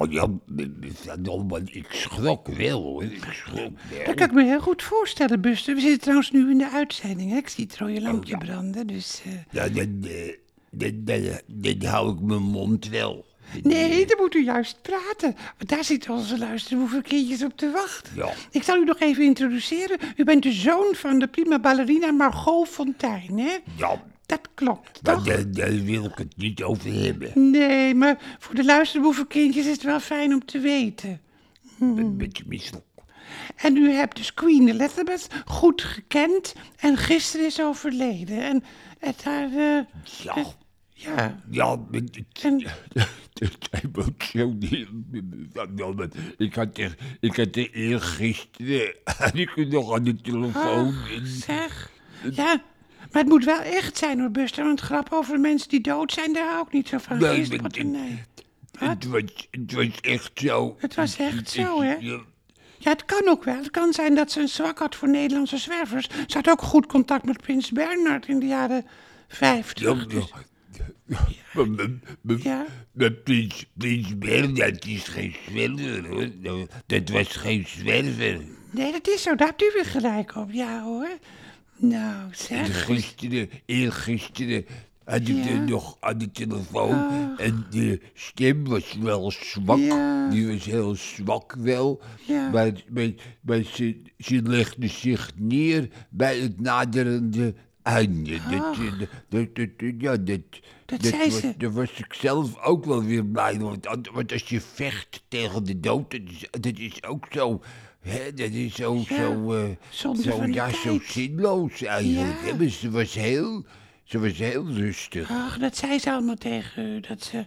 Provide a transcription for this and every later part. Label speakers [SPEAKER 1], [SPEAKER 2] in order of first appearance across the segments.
[SPEAKER 1] Oh, Ja, maar- maar ik schrok wel hoor. Ik schrok wel.
[SPEAKER 2] Dat kan ik me heel goed voorstellen, Buster. We zitten trouwens nu in de uitzending. Hè? Ik zie het rode lampje branden, dus... eh,
[SPEAKER 1] Oh, Ja, dan, eh, dan, dan, dan hou ik mijn mond wel.
[SPEAKER 2] Nee, dan moet u juist praten. Want daar zitten onze luisterhoeverkindjes op te wachten.
[SPEAKER 1] Ja.
[SPEAKER 2] Ik zal u nog even introduceren. U bent de zoon van de prima ballerina Margot Fontijn, hè?
[SPEAKER 1] Ja,
[SPEAKER 2] Dat klopt,
[SPEAKER 1] maar
[SPEAKER 2] toch?
[SPEAKER 1] daar, daar wil ik het niet over hebben.
[SPEAKER 2] Nee, maar voor de luisterboevenkindjes is het wel fijn om te weten. Hmm.
[SPEAKER 1] Een beetje misselijk.
[SPEAKER 2] En u hebt dus Queen Elizabeth goed gekend en gisteren is overleden. En het haar... eh,
[SPEAKER 1] Ja,
[SPEAKER 2] ja,
[SPEAKER 1] ja, maar het-
[SPEAKER 2] en...
[SPEAKER 1] het emotioneert Ik had er, ik had er eergisteren, had ik er nog aan de telefoon.
[SPEAKER 2] Ach, zeg. Ja, maar het moet wel echt zijn hoor, Buster. Want grap over mensen die dood zijn, daar hou ik niet zo van.
[SPEAKER 1] Nee,
[SPEAKER 2] Eerst
[SPEAKER 1] maar-
[SPEAKER 2] potten, nee.
[SPEAKER 1] Het was, het was echt zo.
[SPEAKER 2] Het was echt zo, hè?
[SPEAKER 1] Ja,
[SPEAKER 2] Ja, het kan ook wel. Het kan zijn dat ze een zwak had voor Nederlandse zwervers. Ze had ook goed contact met prins Bernhard in de jaren 50.
[SPEAKER 1] ja,
[SPEAKER 2] Dus-
[SPEAKER 1] ja. Maar mijn- mijn-
[SPEAKER 2] Ja.
[SPEAKER 1] Maar prins, prins Bernhard is geen zwerver, hoor. Nou, Dat was geen zwerver.
[SPEAKER 2] Nee, dat is zo. Daar hebt u weer gelijk op. Ja hoor. Nou, zeg.
[SPEAKER 1] Gisteren, eergisteren, had ik
[SPEAKER 2] Ja. Oh.
[SPEAKER 1] er nog aan de telefoon. En de stem was wel zwak.
[SPEAKER 2] Ja.
[SPEAKER 1] Die was heel zwak wel.
[SPEAKER 2] Ja.
[SPEAKER 1] Maar, maar, maar ze, ze legde zich neer bij het naderende einde. Dat, eh, dat, dat, ja, dat,
[SPEAKER 2] Oh. Dat zei
[SPEAKER 1] was,
[SPEAKER 2] ze.
[SPEAKER 1] Daar was ik zelf ook wel weer blij. om, Want, an- want als je vecht tegen de dood, dat is, dat is ook zo... Hè, dat is zo...
[SPEAKER 2] Ja.
[SPEAKER 1] zo eh,
[SPEAKER 2] Zonde
[SPEAKER 1] zo,
[SPEAKER 2] van de
[SPEAKER 1] ja, zo
[SPEAKER 2] tijd.
[SPEAKER 1] zinloos eigenlijk.
[SPEAKER 2] Ja. Oh,
[SPEAKER 1] hè, maar ze was heel, ze was heel rustig.
[SPEAKER 2] Ach, dat zei ze allemaal tegen u. Dat ze,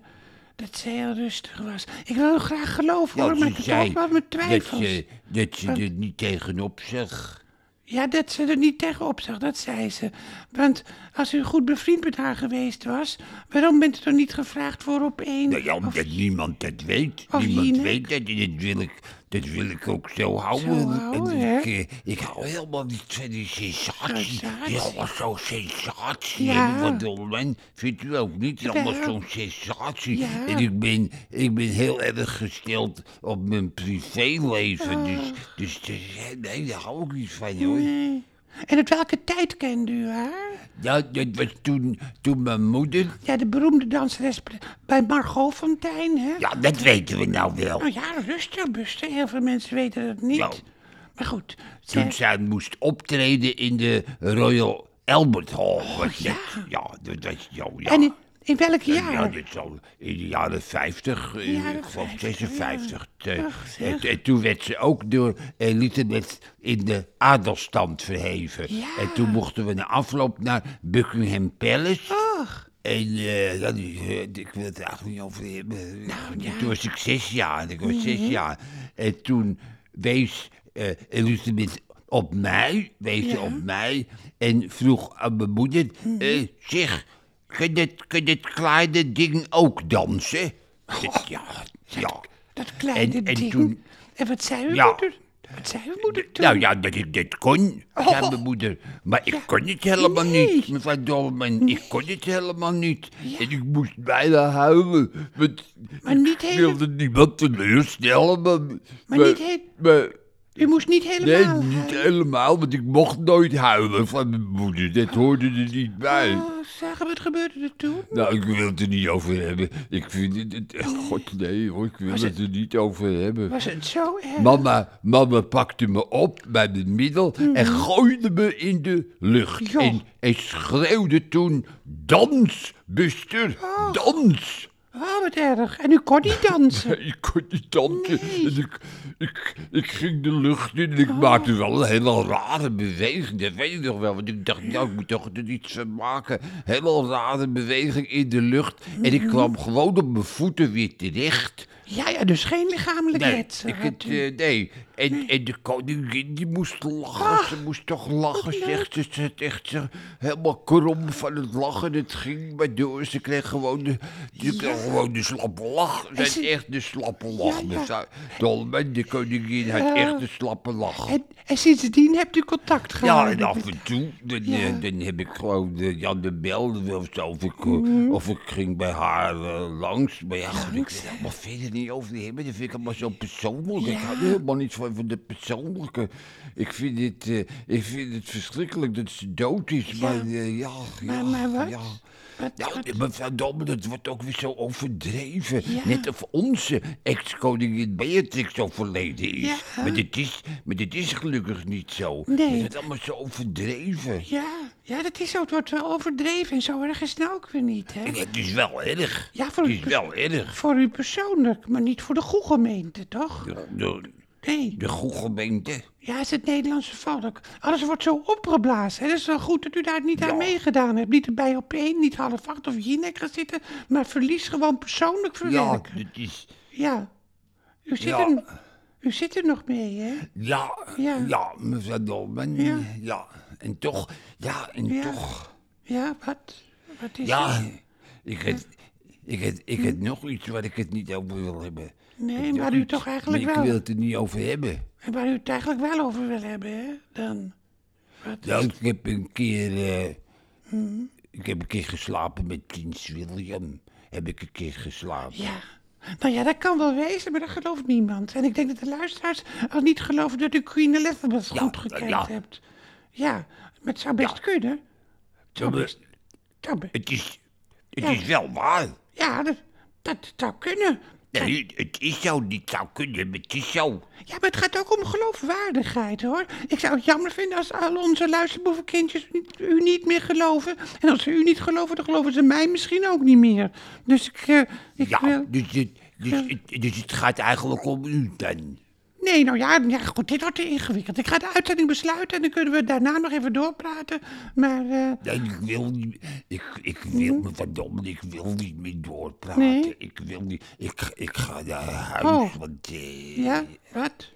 [SPEAKER 2] dat ze heel rustig was. Ik wil u graag geloven hoor,
[SPEAKER 1] Ja,
[SPEAKER 2] oh, maar
[SPEAKER 1] ze
[SPEAKER 2] ik heb
[SPEAKER 1] zei
[SPEAKER 2] ook wel mijn
[SPEAKER 1] dat
[SPEAKER 2] twijfels.
[SPEAKER 1] ze, dat ze er niet tegenop zag.
[SPEAKER 2] Ja, dat ze er niet tegenop zag, dat zei ze. Want als u goed bevriend met haar geweest was, waarom bent u dan niet gevraagd voor op één?
[SPEAKER 1] Nou ja, omdat niemand dat weet.
[SPEAKER 2] of
[SPEAKER 1] niemand
[SPEAKER 2] Jinek.
[SPEAKER 1] weet dat. En dat wil ik, dat wil ik ook zo houden.
[SPEAKER 2] Zo houden,
[SPEAKER 1] en
[SPEAKER 2] hè?
[SPEAKER 1] ik, eh, ik hou helemaal niet van die sensatie.
[SPEAKER 2] Sensatie.
[SPEAKER 1] Ja, zo'n sensatie.
[SPEAKER 2] Ja.
[SPEAKER 1] En wat wil men? Vindt u ook niet? Allemaal zo'n sensatie.
[SPEAKER 2] Ja.
[SPEAKER 1] En ik ben, ik ben heel erg gesteld op mijn privéleven.
[SPEAKER 2] Ah.
[SPEAKER 1] Dus, dus eh, nee, daar hou ik niet van hoor.
[SPEAKER 2] Nee. En uit welke tijd kende u haar?
[SPEAKER 1] Ja, dat was toen, toen mijn moeder...
[SPEAKER 2] Ja, de beroemde danseres bij Margot Fontijn, hè?
[SPEAKER 1] Ja, dat weten we nou wel.
[SPEAKER 2] Nou ja, rustig, Buster. Heel veel mensen weten dat niet.
[SPEAKER 1] Nou.
[SPEAKER 2] Maar goed,
[SPEAKER 1] Toen
[SPEAKER 2] zeg,
[SPEAKER 1] zij moest optreden in de Royal Albert Hall. was
[SPEAKER 2] Oh, ja.
[SPEAKER 1] dat. ja, dat was zo, ja.
[SPEAKER 2] en in, in welk
[SPEAKER 1] Ja,
[SPEAKER 2] jaar?
[SPEAKER 1] dat zal in de jaren 50, eh,
[SPEAKER 2] jaren
[SPEAKER 1] ik geloof
[SPEAKER 2] 50,
[SPEAKER 1] 56.
[SPEAKER 2] ja.
[SPEAKER 1] eh,
[SPEAKER 2] Ach, zeg.
[SPEAKER 1] en- en toen werd ze ook door Elisabeth in de adelstand verheven.
[SPEAKER 2] Ja.
[SPEAKER 1] En toen mochten we na afloop naar Buckingham Palace.
[SPEAKER 2] Ach,
[SPEAKER 1] En eh, ja, die, eh, ik wil het er eigenlijk niet over hebben.
[SPEAKER 2] Nou, ja. Mhm.
[SPEAKER 1] Toen was ik zes jaar. Ik was zes jaar. En toen wees eh Elisabeth op mij, wees ze op mij en vroeg aan mijn moeder,
[SPEAKER 2] Mhm.
[SPEAKER 1] eh, zeg, kan dit, kan dit kleine ding ook dansen? Ik- ja,
[SPEAKER 2] Oh,
[SPEAKER 1] ja.
[SPEAKER 2] dat kleine
[SPEAKER 1] En- en
[SPEAKER 2] ding.
[SPEAKER 1] toen-
[SPEAKER 2] En wat zei uw
[SPEAKER 1] Ja.
[SPEAKER 2] moeder? Wat zei uw moeder toen? Oh.
[SPEAKER 1] Nou ja, dat ik dit kon, zei mijn moeder. Maar ik kon het helemaal
[SPEAKER 2] Nee.
[SPEAKER 1] niet, mevrouw Dolman. Ik kon het helemaal niet. En ik moest bijna huilen. Want
[SPEAKER 2] Maar niet
[SPEAKER 1] ik
[SPEAKER 2] hele-
[SPEAKER 1] wilde niemand teleurstellen. Maar, maar,
[SPEAKER 2] niet heel-
[SPEAKER 1] maar-
[SPEAKER 2] U moest niet
[SPEAKER 1] nee,
[SPEAKER 2] helemaal...
[SPEAKER 1] niet helemaal, want ik mocht nooit huilen van mijn moeder. Dat hoorde er niet bij.
[SPEAKER 2] Oh, zeg, wat gebeurde er toen?
[SPEAKER 1] Nou, ik wil het er niet over hebben. Ik vind het... het God, nee hoor, ik wil het er niet over hebben.
[SPEAKER 2] Was het zo erg?
[SPEAKER 1] Mama, mama pakte me op bij het middel en gooide me in de lucht.
[SPEAKER 2] Mhm. Ja.
[SPEAKER 1] En, en schreeuwde toen, dans, Buster,
[SPEAKER 2] Ah.
[SPEAKER 1] dans.
[SPEAKER 2] Oh, wat erg. En u kon niet dansen.
[SPEAKER 1] Ik kon niet dansen.
[SPEAKER 2] Nee. Ah.
[SPEAKER 1] En ik, ik, ik ging de lucht in en ik maakte wel een hele rare beweging. Dat weet ik nog wel, want ik dacht, nou, ik moet toch er iets van maken. Hele rare beweging in de lucht. En
[SPEAKER 2] Mhm.
[SPEAKER 1] ik kwam gewoon op mijn voeten weer terecht.
[SPEAKER 2] Ja, ja, dus geen lichamelijk
[SPEAKER 1] Nee,
[SPEAKER 2] letsel
[SPEAKER 1] ik
[SPEAKER 2] had
[SPEAKER 1] het,
[SPEAKER 2] u.
[SPEAKER 1] eh, nee. En, en de koningin die moest lachen.
[SPEAKER 2] Ah,
[SPEAKER 1] ze moest toch lachen, zegt ze. Ze had echt zo helemaal krom van het lachen. Het ging maar door. Ze kreeg gewoon de, ze kreeg gewoon de slappe lach. Ze had
[SPEAKER 2] ze-
[SPEAKER 1] echt de slappe lach.
[SPEAKER 2] ja. Eh,
[SPEAKER 1] mevrouw Dolman, de koningin, had echt de slappe lach.
[SPEAKER 2] en, en sindsdien hebt u contact
[SPEAKER 1] Ja, nou,
[SPEAKER 2] gehouden?
[SPEAKER 1] en af
[SPEAKER 2] met-
[SPEAKER 1] en toe, dan,
[SPEAKER 2] Ja.
[SPEAKER 1] eh, dan heb ik gewoon de Jan de
[SPEAKER 2] Mhm.
[SPEAKER 1] Belde of zo. Of ik, eh, of ik ging bij haar eh, langs. Maar ja, goed, ik weet helemaal verder niet niet over hebben. Dat vind ik allemaal zo persoonlijk. Ik hou er helemaal niet van, van de persoonlijke. Ik vind, het, eh, ik vind het verschrikkelijk dat ze dood is. Maar eh, ja, ja,
[SPEAKER 2] Maar, maar wat?
[SPEAKER 1] ja. Nou,
[SPEAKER 2] Wat-
[SPEAKER 1] Ja,
[SPEAKER 2] wat-
[SPEAKER 1] mevrouw Domme, dat wordt ook weer zo overdreven.
[SPEAKER 2] Ja.
[SPEAKER 1] Net of onze ex-koningin Beatrix overleden is.
[SPEAKER 2] Ja.
[SPEAKER 1] Maar, dat is. maar dat is gelukkig niet zo.
[SPEAKER 2] Nee.
[SPEAKER 1] Het wordt allemaal zo overdreven.
[SPEAKER 2] Ja, ja, dat is zo. Het wordt wel overdreven en zo erg is het nou ook weer niet, hè?
[SPEAKER 1] En het is wel erg.
[SPEAKER 2] Ja, voor
[SPEAKER 1] het
[SPEAKER 2] u
[SPEAKER 1] is
[SPEAKER 2] pers-
[SPEAKER 1] wel erg.
[SPEAKER 2] Voor u persoonlijk, maar niet voor de goede gemeente, toch?
[SPEAKER 1] De, de,
[SPEAKER 2] Nee,
[SPEAKER 1] de goede gemeente.
[SPEAKER 2] ja, het is het Nederlandse volk. Alles wordt zo opgeblazen. Het is wel goed dat u daar niet
[SPEAKER 1] Ja.
[SPEAKER 2] aan meegedaan hebt. Niet erbij op één, niet half acht of jinek gaan zitten, maar verlies gewoon persoonlijk
[SPEAKER 1] Ja,
[SPEAKER 2] verwerken. Ja.
[SPEAKER 1] dat is.
[SPEAKER 2] U, zit
[SPEAKER 1] Ja.
[SPEAKER 2] er, u zit er nog mee, hè?
[SPEAKER 1] Ja, ja,
[SPEAKER 2] Ja.
[SPEAKER 1] mevrouw Dolman. Ja.
[SPEAKER 2] Ja.
[SPEAKER 1] en toch, ja, en
[SPEAKER 2] Ja.
[SPEAKER 1] toch.
[SPEAKER 2] Ja, wat? Wat is
[SPEAKER 1] Ja,
[SPEAKER 2] het?
[SPEAKER 1] ik heb, ik heb, ik heb nog iets waar ik het niet over wil hebben. Ik
[SPEAKER 2] Nee,
[SPEAKER 1] heb
[SPEAKER 2] waar
[SPEAKER 1] nog
[SPEAKER 2] u
[SPEAKER 1] iets,
[SPEAKER 2] toch eigenlijk
[SPEAKER 1] maar
[SPEAKER 2] wel...
[SPEAKER 1] Ik wil het er niet over hebben.
[SPEAKER 2] En waar u het eigenlijk wel over wil hebben, hè? Dan. Wat?
[SPEAKER 1] Nou, ik heb een keer. eh, Ik heb een keer geslapen met Prins William. Heb ik een keer geslapen.
[SPEAKER 2] Ja. Nou ja, dat kan wel wezen, maar dat gelooft niemand. En ik denk dat de luisteraars al niet geloven dat u Queen Elizabeth
[SPEAKER 1] Ja, eh,
[SPEAKER 2] goed gekend
[SPEAKER 1] ja.
[SPEAKER 2] hebt. Ja, maar het zou best kunnen. Het zou
[SPEAKER 1] Maar
[SPEAKER 2] best, het zou be-
[SPEAKER 1] Het is, het
[SPEAKER 2] Ja.
[SPEAKER 1] is wel waar.
[SPEAKER 2] ja, dat, dat zou kunnen.
[SPEAKER 1] Nee, het is zo niet zou kunnen, maar het is zo.
[SPEAKER 2] Ja, maar het gaat ook om geloofwaardigheid, hoor. Ik zou het jammer vinden als al onze luisterboevenkindjes niet- u niet meer geloven. En als ze u niet geloven, dan geloven ze mij misschien ook niet meer. Dus ik, eh, ik
[SPEAKER 1] Ja,
[SPEAKER 2] wil...
[SPEAKER 1] dus, het, dus, het, dus het gaat eigenlijk om u dan.
[SPEAKER 2] Nee, nou ja, ja, goed, dit wordt te ingewikkeld. Ik ga de uitzending besluiten en dan kunnen we daarna nog even doorpraten. Maar, eh,
[SPEAKER 1] Nee, ik wil niet. Ik, ik wil me verdomme, ik wil niet meer doorpraten.
[SPEAKER 2] Mhm. Nee?
[SPEAKER 1] Ik wil niet. Ik, ik ga naar huis,
[SPEAKER 2] Oh.
[SPEAKER 1] want eh,
[SPEAKER 2] ja, wat?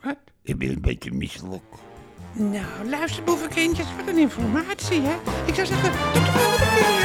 [SPEAKER 2] Wat?
[SPEAKER 1] ik ben een beetje misselijk.
[SPEAKER 2] Nou, luister boevenkindjes, wat een informatie, hè? Ik zou zeggen, tot de volgende keer!